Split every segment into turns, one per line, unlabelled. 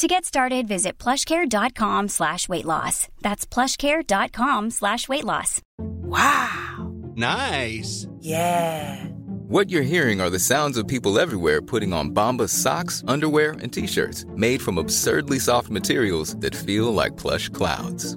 To get started, visit plushcare.com slash weight loss. That's plushcare.com slash weight loss.
Wow.
Nice.
Yeah.
What you're hearing are the sounds of people everywhere putting on Bombas socks, underwear, and t-shirts made from absurdly soft materials that feel like plush clouds.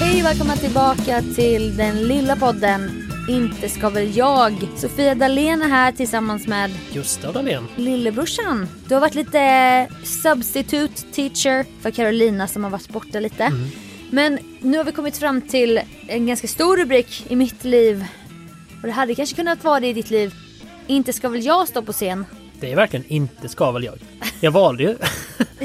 Hej välkomna tillbaka till den lilla podden Inte ska väl jag. Sofia Dalén är här tillsammans med
Gustav Dahlén.
lillebrorsan. Du har varit lite eh, substitute teacher för Carolina som har varit borta lite. Men nu har vi kommit fram till en ganska stor rubrik i mitt liv. Och det hade kanske kunnat vara det i ditt liv. Inte ska väl jag stå på scen?
Det är verkligen inte ska väl jag. Jag valde ju.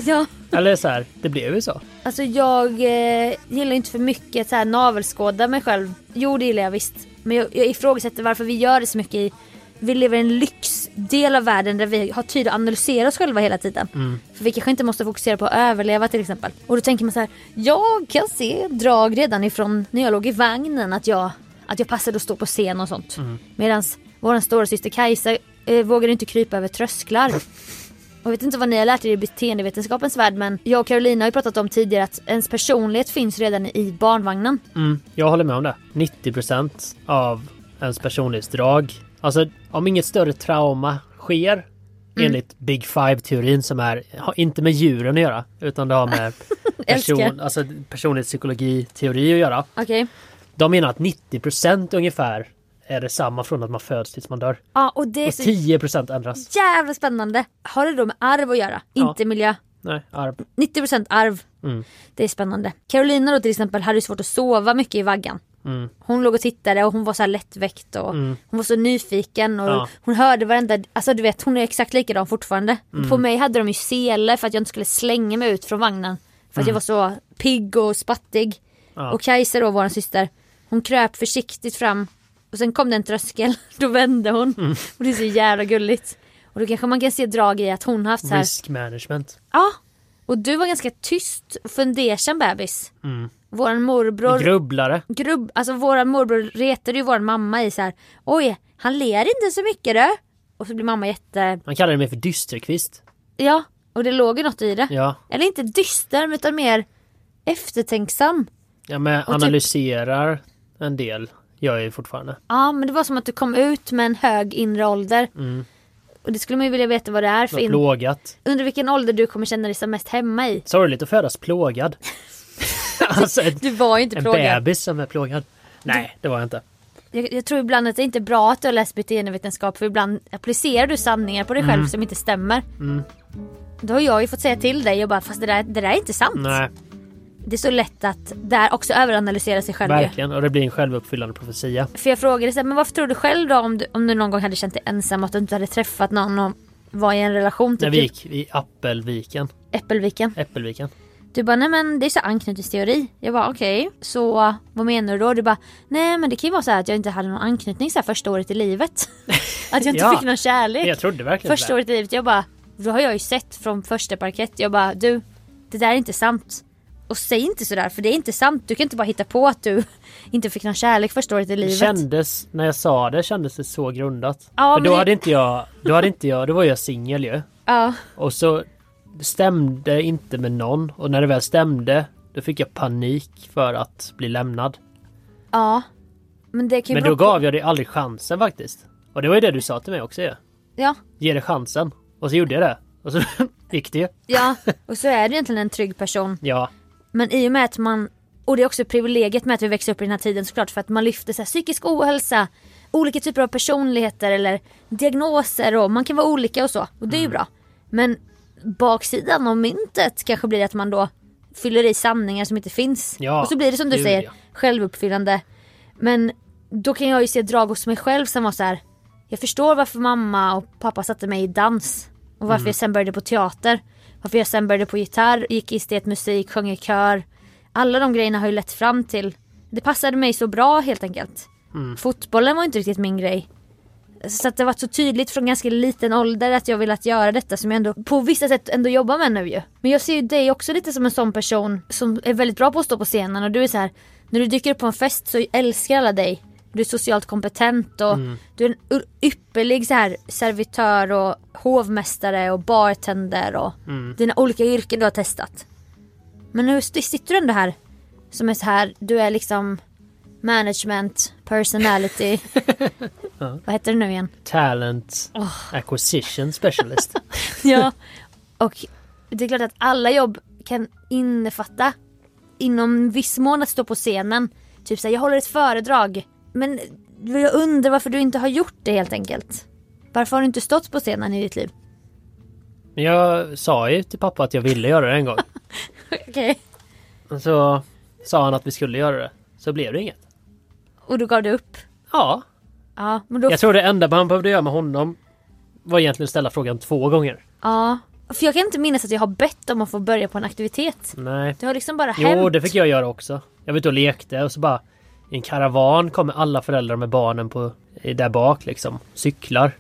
Ja.
Eller så här, det blev ju så.
Alltså jag eh, gillar inte för mycket så här navelskåda mig själv. Jo det gillar jag visst. Men jag, jag ifrågasätter varför vi gör det så mycket i... Vi lever i en lyxdel av världen där vi har tid att analysera oss själva hela tiden. För vi kanske inte måste fokusera på att överleva till exempel. Och då tänker man så här, jag kan se drag redan ifrån när jag låg i vagnen att jag, att jag passade att stå på scen och sånt. Medan vår stora syster Kajsa eh, vågar inte krypa över trösklar. Jag vet inte vad ni har lärt er i beteendevetenskapens värld men jag och Carolina har ju pratat om tidigare att ens personlighet finns redan i barnvagnen.
Mm, jag håller med om det. 90% av ens personlighetsdrag. Alltså, om inget större trauma sker
Mm.
enligt Big Five-teorin som är, har inte med djuren att göra, utan det har med person,
Älskar.
alltså, personlighetspsykologi-teori att göra.
Okej.
De menar att 90% ungefär är detsamma från att man föds tills man dör.
Ja och det är
Och
så
10% ändras.
jävla spännande. Har det då med arv att göra?
Ja.
Inte miljö.
Nej, arv.
90% arv.
Mm.
Det är spännande. Carolina då till exempel hade ju svårt att sova mycket i vaggan.
Mm.
Hon låg och tittade och hon var så här lättväckt och hon var så nyfiken och
Ja.
hon hörde varenda, alltså du vet hon är exakt likadan fortfarande.
Mm.
På mig hade de ju sele för att jag inte skulle slänga mig ut från vagnen. För att jag var så pigg och spattig.
Mm. Ja.
Och Kajsa då, våran syster, hon kröp försiktigt fram och sen kom det en tröskel, då vände hon.
Mm.
Och det är så jävla gulligt. Och då kanske man kan se drag i att hon har haft så här,
Risk management.
ja. Och du var ganska tyst och fundersam bebis.
Mm.
Våran morbror
Grubblare.
grubb, alltså våran morbror retade ju våran mamma i så här. Oj, han ler inte så mycket du. Och så blir mamma jätte,
Man kallade mig för dysterkvist.
ja. Och det låg ju något i det.
Ja,
Eller inte dyster utan mer eftertänksam.
ja men
typ-
analyserar en del gör jag ju fortfarande.
Ja men det var som att du kom ut med en hög inre ålder.
Mm.
Och det skulle man ju vilja veta vad det är för
Något
in...
plågat.
Under vilken ålder du kommer känna dig som mest hemma i.
Sorgligt att födas plågad. alltså en,
Du var ju inte
en
plågad.
bebis som är plågad. Nej, det var jag inte.
Jag, jag tror ibland att det inte är bra att du har läst beteendevetenskap för ibland applicerar du sanningar på dig
Mm.
själv som inte stämmer. Då har jag ju fått säga till dig och bara fast det där, det där är inte sant.
Nej,
det är så lätt att där också överanalysera sig själv. ju.
Verkligen. Och det blir en självuppfyllande profetia.
För jag frågade så här, men varför tror du själv då om du, om du någon gång hade känt dig ensam och att du inte hade träffat någon och var i en relation
När
till
vi
typ
gick i Appelviken.
Äppelviken?
Äppelviken.
Du bara, nej men det är så anknytningsteori. Jag bara, okej. Så vad menar du då? Du bara, nej men det kan ju vara så här att jag inte hade någon anknytning så här första året i livet. att jag inte
Ja.
fick någon kärlek.
Jag trodde verkligen
första året i livet. Jag bara, då har jag ju sett från första parkett. Jag bara, du, det där är inte sant. Och säg inte sådär för det är inte sant. Du kan inte bara hitta på att du inte fick någon kärlek första året i
Det
livet.
kändes, när jag sa det, kändes det så grundat.
Ja,
För
men
då
det-
hade inte jag, då hade inte jag, då var jag singel ju.
Ja.
Och så stämde det inte med någon. Och när det väl stämde, då fick jag panik för att bli lämnad.
Ja. Men det kan ju
Men då
bero på-
gav jag dig aldrig chansen faktiskt. Och det var ju det du sa till mig också ju.
Ja.
Ge det chansen. Och så gjorde jag det. Och så gick det ju.
Ja. Och så är du egentligen en trygg person.
Ja.
Men i och med att man, och det är också privilegiet med att vi växer upp i den här tiden såklart för att man lyfter så här, psykisk ohälsa, olika typer av personligheter eller diagnoser och man kan vara olika och så. Och
Mm.
det är ju bra. Men baksidan av myntet kanske blir att man då fyller i sanningar som inte finns.
Ja,
och så blir det som du
gud,
säger,
ja.
självuppfyllande. Men då kan jag ju se drag hos mig själv som var så här. Jag förstår varför mamma och pappa satte mig i dans. Och varför jag sen började på teater. Varför jag sen började på gitarr, gick i estetmusik, sjöng i kör. Alla de grejerna har ju lett fram till. Det passade mig så bra helt enkelt. Fotbollen var inte riktigt min grej. Så att det har varit så tydligt från ganska liten ålder att jag velat göra detta som jag ändå på vissa sätt ändå jobbar med nu ju. Men jag ser ju dig också lite som en sån person som är väldigt bra på att stå på scenen och du är så här. När du dyker upp på en fest så älskar alla dig. Du är socialt kompetent och du är en u- ypperlig så här servitör och hovmästare och bartender och dina olika yrken du har testat. Men nu st- sitter du ändå här som är så här, du är liksom management, personality. Vad heter det nu igen?
Talent acquisition specialist.
Ja. Och det är klart att alla jobb kan innefatta inom viss mån att stå på scenen. Typ såhär, jag håller ett föredrag. Men jag undrar varför du inte har gjort det helt enkelt. Varför har du inte stått på scenen i ditt liv?
Men jag sa ju till pappa att jag ville göra det en gång.
Okej.
Och så sa han att vi skulle göra det. Så blev det inget.
Och då gav du upp.
Ja.
Ja, men då...
Jag tror det enda man behövde göra med honom var egentligen att ställa frågan två gånger.
Ja. För jag kan inte minnas att jag har bett om att få börja på en aktivitet.
Nej.
Det har liksom bara hänt.
Jo, det fick jag göra också. Jag var ute och lekte och så bara i en karavan kommer alla föräldrar med barnen på, i- där bak liksom. Cyklar.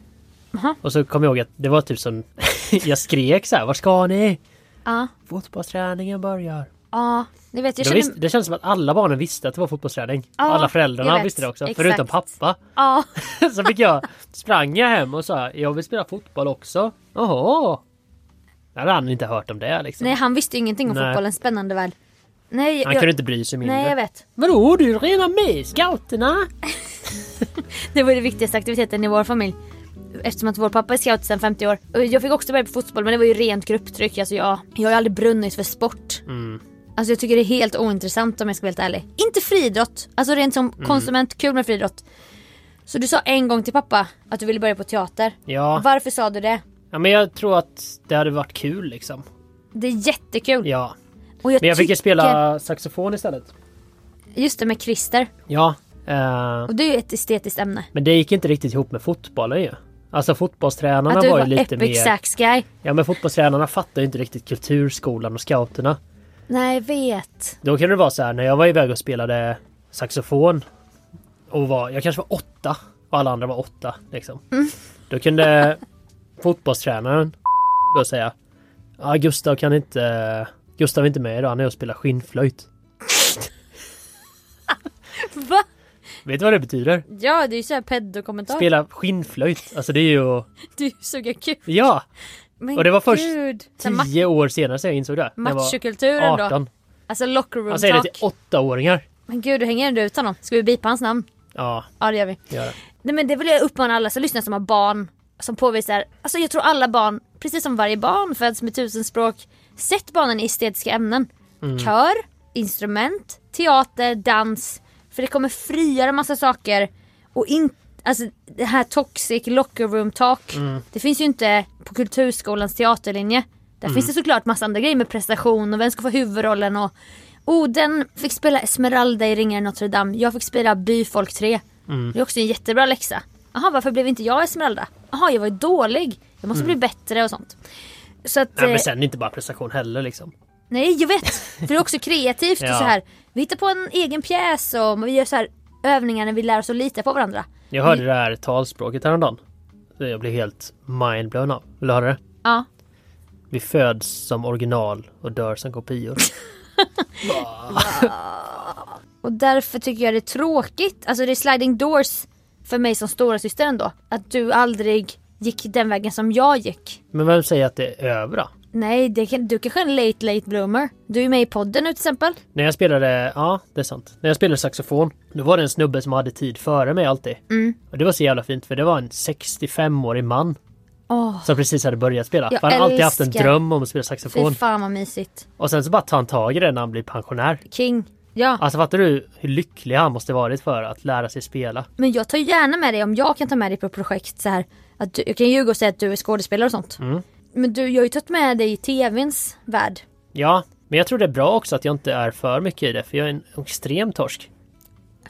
Aha.
Och så kom jag ihåg att det var typ som... jag skrek så här, var ska ni?
Ja.
Fotbollsträningen börjar.
Ja. Ni vet, jag
Då
känner...
visste- det kändes som att alla barnen visste att det var fotbollsträning.
Ja,
alla
jag
föräldrarna
vet.
visste det också,
Exakt.
förutom pappa.
Ja.
så fick jag, sprang jag hem och sa jag vill spela fotboll också. Jaha! Jag hade han inte hört om det liksom.
Nej, han visste ju ingenting om
Nej.
fotbollens spännande värld. Nej,
han
jag...
kunde inte bry sig mindre.
Nej, jag vet.
Vadå, du är redan med i scouterna?
Det var den viktigaste aktiviteten i vår familj. Eftersom att vår pappa är scout sedan 50 år. Och Jag fick också börja på fotboll men det var ju rent grupptryck. Alltså jag, jag har ju aldrig brunnit för sport.
Mm.
Alltså jag tycker det är helt ointressant om jag ska vara helt ärlig. Inte friidrott. Alltså rent som
Mm.
konsument, kul med friidrott. Så du sa en gång till pappa att du ville börja på teater.
Ja.
Varför sa du det?
ja, men jag tror att det hade varit kul liksom.
Det är jättekul.
Ja.
Och jag
Men jag fick ju
tycker-
spela saxofon istället.
Just det med Christer.
Ja. eh,
Och det är ju ett estetiskt ämne.
men det gick inte riktigt ihop med fotbollen ju. Alltså fotbollstränarna
Att du
var ju
var
lite
epic
mer...
sax guy.
Ja men fotbollstränarna fattar ju inte riktigt kulturskolan och scouterna.
Nej, jag vet.
Då kunde det vara så här när jag var iväg och spelade saxofon och var, jag kanske var åtta och alla andra var åtta liksom. Då kunde fotbollstränaren då säga Ja Gustav kan inte, Gustav är inte med idag, han är och spelar skinnflöjt.
Va?
Vet du vad det betyder?
Ja, det är ju såhär pedokommentar.
Spela skinnflöjt, alltså det är ju,
Det är ju så kul.
ja!
Men
Och det var först
gud. Så här
Tio år senare så jag insåg det. När jag var
Machokulturen då.
18.
Alltså locker room
Han säger det till
talk.
åttaåringar.
Men gud, du hänger ändå ut honom. Ska vi bipa hans namn?
Ja,
Ja, det gör vi.
gör det.
Nej men det vill jag uppmana alla som lyssnar som har barn som påvisar, alltså jag tror alla barn, precis som varje barn föds med tusen språk, sätt barnen i estetiska ämnen. Kör, instrument, teater, dans. För det kommer frigöra massa saker. Och in, alltså det här toxic locker room talk, det finns ju inte på kulturskolans teaterlinje. Där finns det såklart massa andra grejer med prestation och vem ska få huvudrollen och Oden fick spela Esmeralda i Ringaren i Notre Dame. Jag fick spela Byfolk 3. Det är också en jättebra läxa. Jaha, varför blev inte jag Esmeralda? Jaha, jag var ju dålig. Jag måste bli bättre och sånt. Så att,
Nej,
eh,
Mm. men sen är det inte bara prestation heller liksom.
Nej jag vet! För det är också kreativt och
Ja.
så här. Vi hittar på en egen pjäs och vi gör så här övningar när vi lär oss att lita på varandra.
Jag hörde det här talspråket häromdagen. Det Jag blev helt mindblown av. Vill du höra det?
Ja.
Vi föds som original och dör som kopior.
Och därför tycker jag det är tråkigt, alltså det är sliding doors för mig som stora syster ändå. Att du aldrig gick den vägen som jag gick.
Men vem säger att det är över då?
Nej, det kan, du kanske är en late late bloomer. Du är med i podden nu till exempel.
När jag spelade, ja det är sant. När jag spelade saxofon, då var det en snubbe som hade tid före mig alltid.
Mm.
Och det var så jävla fint för det var en 65-årig man
Åh,
som precis hade börjat spela.
Jag
För han har alltid haft en
älskar-
dröm om att spela
fy
saxofon.
fan vad mysigt.
Och sen så bara tar han tag i det när han blir pensionär.
King. Ja,
Alltså fattar du hur lycklig han måste varit för att lära sig spela?
men jag tar gärna med dig om jag kan ta med dig på projekt så här. Att du, jag kan ljuga och säga att du är skådespelare och sånt. Men du, jag har ju tagit med dig i tvns värld.
Ja, men jag tror det är bra också att jag inte är för mycket i det, för jag är en extrem torsk.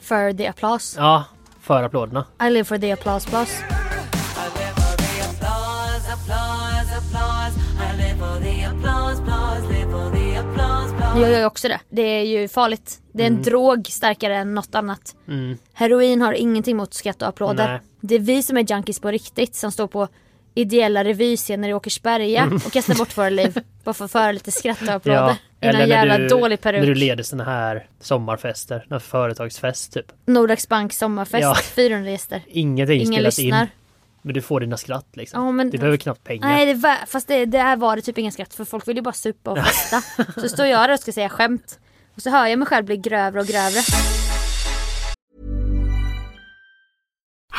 För the applause.
Ja, för applåderna.
I live for the applause plus. Jag gör ju också det. Det är ju farligt. Det är
Mm.
en drog starkare än något annat. Heroin har ingenting mot skratt och applåder.
Nej.
Det är vi som är junkies på riktigt som står på ideella revyscener i Åkersberga
Mm.
och kastar bort våra liv. Bara för att föra lite skratt och applåder. I någon jävla dålig
När du
peruk.
leder såna här sommarfester, någon företagsfest typ.
Nordax Bank sommarfest,
Ja.
400 gäster.
Ingenting
Ingen
spelas
lyssnar.
in. Men du får dina skratt liksom.
Ja, men-
Du behöver knappt pengar.
Nej, det var, fast det, där var det typ ingen skratt för folk vill ju bara supa och festa. så står jag där och ska säga skämt. Och så hör jag mig själv bli grövre och grövre.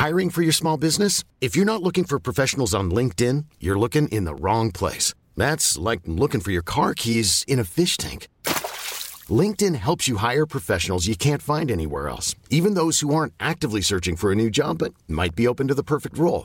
Hiring for your small business? If you're not looking for professionals on LinkedIn, you're looking in the wrong place. That's like looking for your car keys in a fish tank. LinkedIn helps you hire professionals you can't find anywhere else, even those who aren't actively searching for a new job but might be open to the perfect role.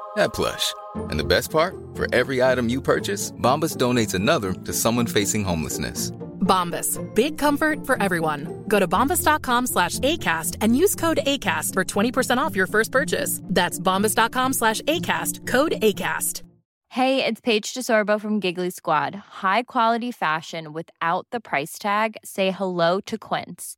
that plush. And the best part? For every item you purchase, Bombas donates another to someone facing homelessness.
Bombas. Big comfort for everyone. Go to bombas.com slash ACAST and use code ACAST for 20% off your first purchase. That's bombas.com slash ACAST, code ACAST.
Hey, it's Paige DeSorbo from Giggly Squad. High quality fashion without the price tag. Say hello to Quince.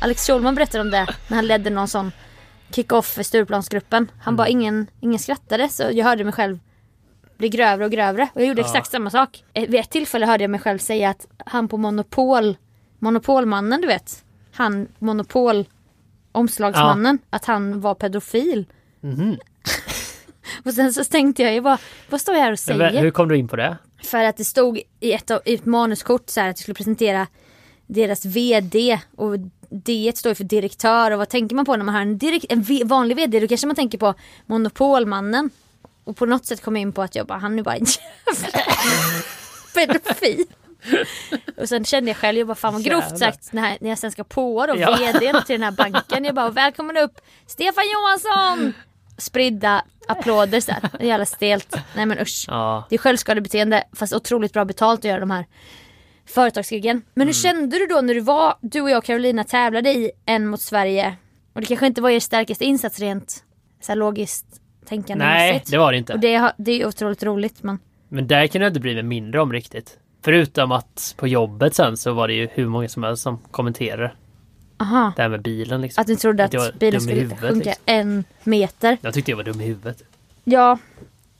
Alex Schulman berättade om det när han ledde någon sån kick-off för Stureplansgruppen. Han bara ingen, ingen skrattade så jag hörde mig själv bli grövre och grövre. Och jag gjorde exakt samma sak. Eh, Vid ett tillfälle hörde jag mig själv säga att han på Monopol, Monopolmannen du vet. Han Monopol omslagsmannen, att han var pedofil. och sen så tänkte jag ju bara, vad står jag här och
Men
säger?
vä- hur kom du in på det?
För att det stod i ett, av, i ett manuskort så här att jag skulle presentera deras VD och D står ju för direktör och vad tänker man på när man har en, direkt, en v, vanlig VD? Då kanske man tänker på monopolmannen. Och på något sätt kom jag in på att jag bara, han är bara en jävla pedofil. Och sen kände jag själv, jag bara fan vad grovt
Jävlar.
sagt när, jag- när jag sen ska påa då
Ja.
VDn till den här banken. Jag bara välkommen upp Stefan Johansson! Spridda applåder så här. Jävla stelt. Nej men usch.
Ja.
Det är självskadebeteende fast otroligt bra betalt att göra de här företagsgiggen. Men
Mm.
hur kände du då när du var, du och jag och Carolina tävlade i en mot Sverige? Och det kanske inte var er starkaste insats rent så här logiskt tänkande.
Nej, det var det inte.
Och det, har- det är ju otroligt roligt men
Men där kan jag inte bry mig mindre om riktigt. Förutom att på jobbet sen så var det ju hur många som helst som kommenterade
Aha.
det här med bilen liksom.
Att ni trodde
jag var
att bilen
dum i
skulle
huvudet,
sjunka
liksom.
en meter.
Jag tyckte jag var dum i huvudet.
Ja.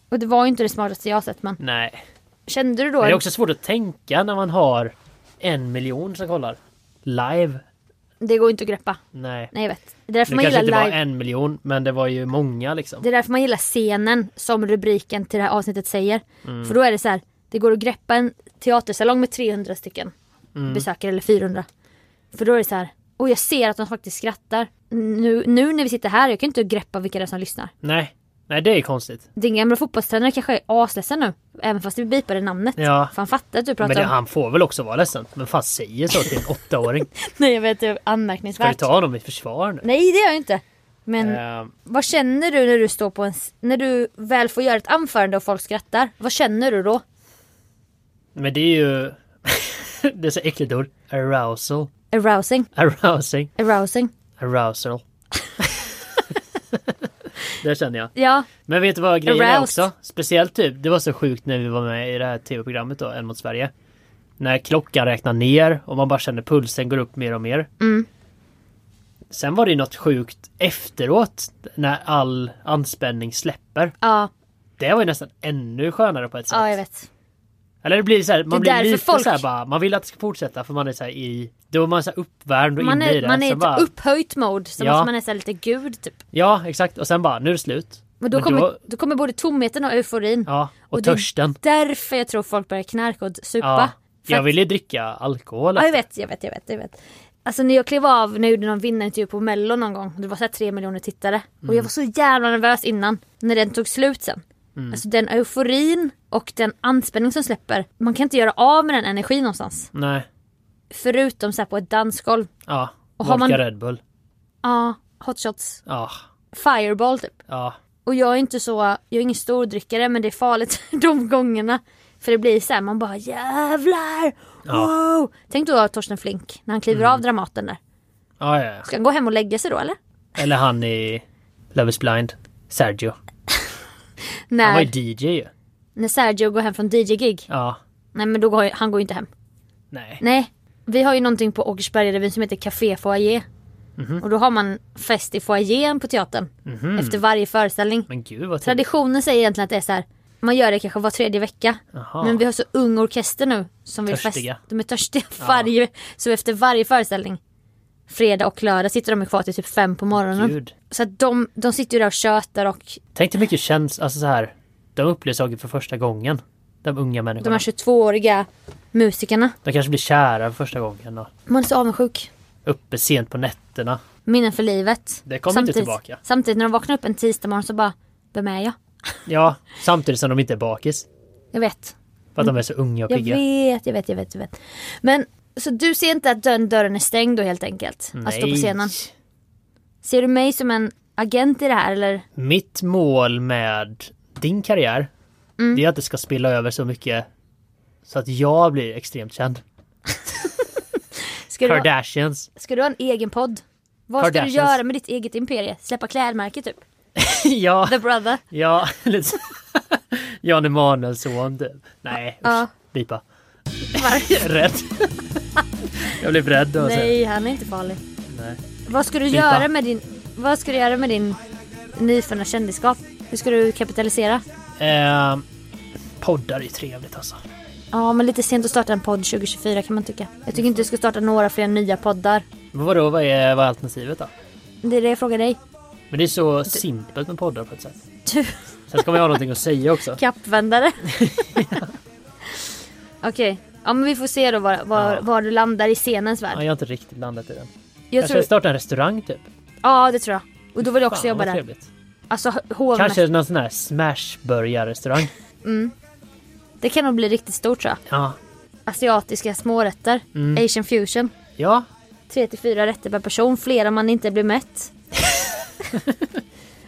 Och det var ju inte det smartaste jag har sett men.
Nej.
Kände du då?
Men det är också svårt att tänka när man har en miljon som kollar. Live?
Det går inte att greppa.
Nej.
Nej jag vet. Det är därför
Det
man
kanske
gillar
inte
live.
var en miljon, men det var ju många liksom.
Det är därför man gillar scenen som rubriken till det här avsnittet säger.
Mm.
För då är det så här. Det går att greppa en teatersalong med 300 stycken
Mm.
besökare eller 400. För då är det så här. Och jag ser att de faktiskt skrattar. Nu, nu när vi sitter här, jag kan inte greppa vilka det är som lyssnar.
Nej. Nej, det är konstigt.
Din gamla fotbollstränare kanske är asledsen nu. Även fast vi bipade namnet.
Ja.
För han fattar att du pratar
Men det,
om...
han får väl också vara ledsen. Men fan säger så till en åttaåring?
Nej jag vet, det är
Ska du
anmärkningsvärt.
ta honom i försvar nu?
Nej det gör jag inte. Men
Ehm,
vad känner du när du står på en... s- När du väl får göra ett anförande och folk skrattar. Vad känner du då?
men det är ju... det är så äckligt ord. Arousal.
Arousing.
Arousing.
Arousing.
Arousal. det känner jag.
Ja.
Men vet du vad grejen är
Aroused.
också? Speciellt typ, det var så sjukt när vi var med i det här tv-programmet då, En mot Sverige. När klockan räknar ner och man bara känner pulsen går upp mer och mer.
Mm.
Sen var det ju något sjukt efteråt när all anspänning släpper.
Ja.
Det var ju nästan ännu skönare på ett sätt.
Ja jag vet.
Eller det blir så här, man
Det är
blir
därför
lite
folk-
så här bara, man vill att det ska fortsätta för man är så här i, då är man så här uppvärmd och
Man
inne i
är,
det.
man är i
Sen
ett
bara,
upphöjt mode. Som
Ja.
att man är så här lite gud typ.
Ja, exakt. Och sen bara, nu är det slut.
Och då,
Men
kommer, då... kommer både tomheten och euforin.
ja, och,
och det-
törsten.
Därför jag tror folk börjar knarka och supa.
Ja,
För
jag
att-
ville ju dricka alkohol.
Ja jag
efter.
vet, jag vet, jag vet, jag vet. Alltså när jag klev av när jag gjorde någon vinnarintervju på mello någon gång. Det var såhär tre miljoner tittare. Och jag
Mm.
var så jävla nervös innan. När den tog slut sen.
Mm.
Alltså den euforin och den anspänning som släpper. Man kan inte göra av med den energin någonstans.
Nej.
Förutom såhär på ett dansgolv.
Ja.
Och
Och
har
Vodka
man-
Red Bull.
Ja, hot shots.
Ja.
Fireball typ.
Ja.
Och jag är inte så, jag är ingen stordrickare men det är farligt de gångerna. För det blir såhär, man bara jävlar! Wow! Tänk då Torsten Flink när han kliver av Dramaten där.
Ja, ja, ja.
Ska han gå hem och lägga sig då eller?
Eller han i Love is blind. Sergio. Han var
När,
ju DJ ju.
när Sergio går hem från DJ-gig.
Ja.
Nej men då går ju- han går ju inte hem.
Nej.
Nej. Vi har ju någonting på Åkersbergarevyn som heter Café Foyer. Och då har man fest i foajén på teatern. Efter varje föreställning.
Men gud vad trevligt.
Traditionen säger egentligen att det är så här. Man gör det kanske var tredje vecka.
Jaha.
Men vi har så ung orkester nu. Som vill
Törstiga.
Fest. De är törstiga varje. Så efter varje föreställning. Fredag och lördag sitter de kvar till typ fem på morgonen.
Gud.
Så att de, de sitter ju där och tjötar och
Tänk dig mycket känns, alltså så här. De upplever saker för första gången. De unga
de
människorna.
här 22-åriga musikerna.
De kanske blir kära för första gången. Och
Man är så avundsjuk.
uppe sent på nätterna.
Minnen för livet.
Det kommer inte tillbaka.
Samtidigt när de vaknar upp en tisdag morgon så bara, vem är jag?
Ja, samtidigt som de inte är bakis.
Jag vet.
För att de är så unga och
Mm. Jag
pigga.
vet, jag vet, jag vet, jag vet. Men, så du ser inte att dörren, dörren är stängd då helt enkelt? Att stå Alltså, på scenen? Ser du mig som en agent i det här eller?
Mitt mål med din karriär,
Mm.
det är att det ska spilla över så mycket så att jag blir extremt känd.
Ska du, ha,
Kardashians.
ska du ha en egen podd? Vad ska du
Kardashians.
göra med ditt eget imperie? Släppa klädmärke typ?
ja,
The Brother?
ja, lite så. Jan Emanuelsson. typ. Nej,
Ja.
usch. Bipa.
Varför?
Rädd. jag blev rädd. Och så.
Nej, han är inte farlig.
Nej.
Vad ska du
Pipa.
göra med din, vad ska du göra med din nyfunna kändisskap? Hur ska du kapitalisera?
Ehm, poddar är trevligt alltså.
Ja, men lite sent att starta en podd 2024 kan man tycka. Jag tycker inte du ska starta några fler nya poddar.
Men vadå, vad är, vad är alternativet då?
Det är det jag frågar dig.
Men det är så simpelt med poddar på ett sätt.
Du,
Sen ska man ju ha någonting att säga också.
kappvändare. Okej, ja men vi får se då var, var,
Ja.
var du landar i scenens
Ja,
värld.
jag har inte riktigt landat i den.
Jag
Kanske
tror,
starta en restaurang typ.
ja, det tror jag. Och då vill jag också
Fan,
jobba
vad
där.
trevligt.
Alltså hovmästare.
Kanske någon sån här smashburgarrestaurang.
Det kan nog bli riktigt stort tror jag.
Ja.
Asiatiska smårätter.
Mm.
Asian fusion.
Ja.
Tre till fyra rätter per person, flera man inte blir mätt.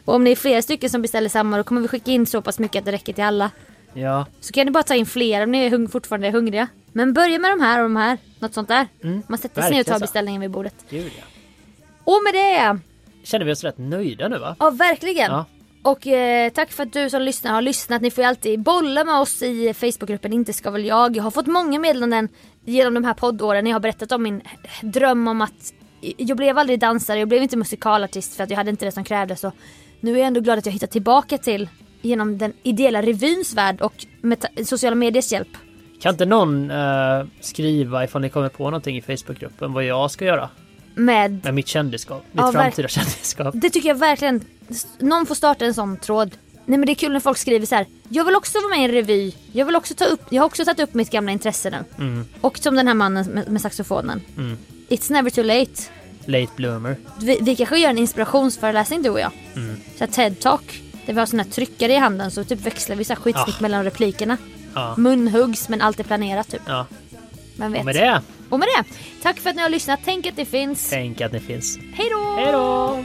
Och om ni är flera stycken som beställer samma då kommer vi skicka in så pass mycket att det räcker till alla.
Ja.
Så kan ni bara ta in fler om ni är hung- fortfarande är hungriga. Men börja med de här och de här. Något sånt där. Man sätter sig ner och
Mm. verkligen
tar
så.
beställningen vid bordet.
Gud ja.
Och med det!
Känner vi oss rätt nöjda nu va?
Ja, verkligen.
Ja.
Och eh, tack för att du som lyssnar har lyssnat. Ni får ju alltid bolla med oss i Facebookgruppen Inte ska väl jag. Jag har fått många meddelanden genom de här poddåren. Jag har berättat om min dröm om att jag blev aldrig dansare, jag blev inte musikalartist för att jag hade inte det som krävdes. Och nu är jag ändå glad att jag hittat tillbaka till genom den ideella revyns värld och med ta- sociala mediers hjälp.
Kan inte någon eh, skriva ifall ni kommer på någonting i Facebookgruppen vad jag ska göra
Med
med mitt kändisskap? Mitt
Ja, verk-
framtida kändisskap.
Det tycker jag verkligen. S- Någon får starta en sån tråd. Nej men det är kul när folk skriver så här. Jag vill också vara med i en revy. Jag vill också ta upp, jag har också tagit upp mitt gamla intresse nu.
Mm.
Och som den här mannen med, med saxofonen. It's never too late.
Late bloomer.
Vi, vi kanske gör en inspirationsföreläsning du och jag.
Mm.
Så här TED-talk. Där vi har såna här tryckare i handen så typ växlar vi så här skitsnyggt
Ah.
mellan replikerna.
Ja.
Munhuggs men allt är planerat typ.
ja.
Vem vet.
Och med det,
Och med det. Tack för att ni har lyssnat. Tänk att det finns.
tänk att det finns.
Hej då!
Hej då!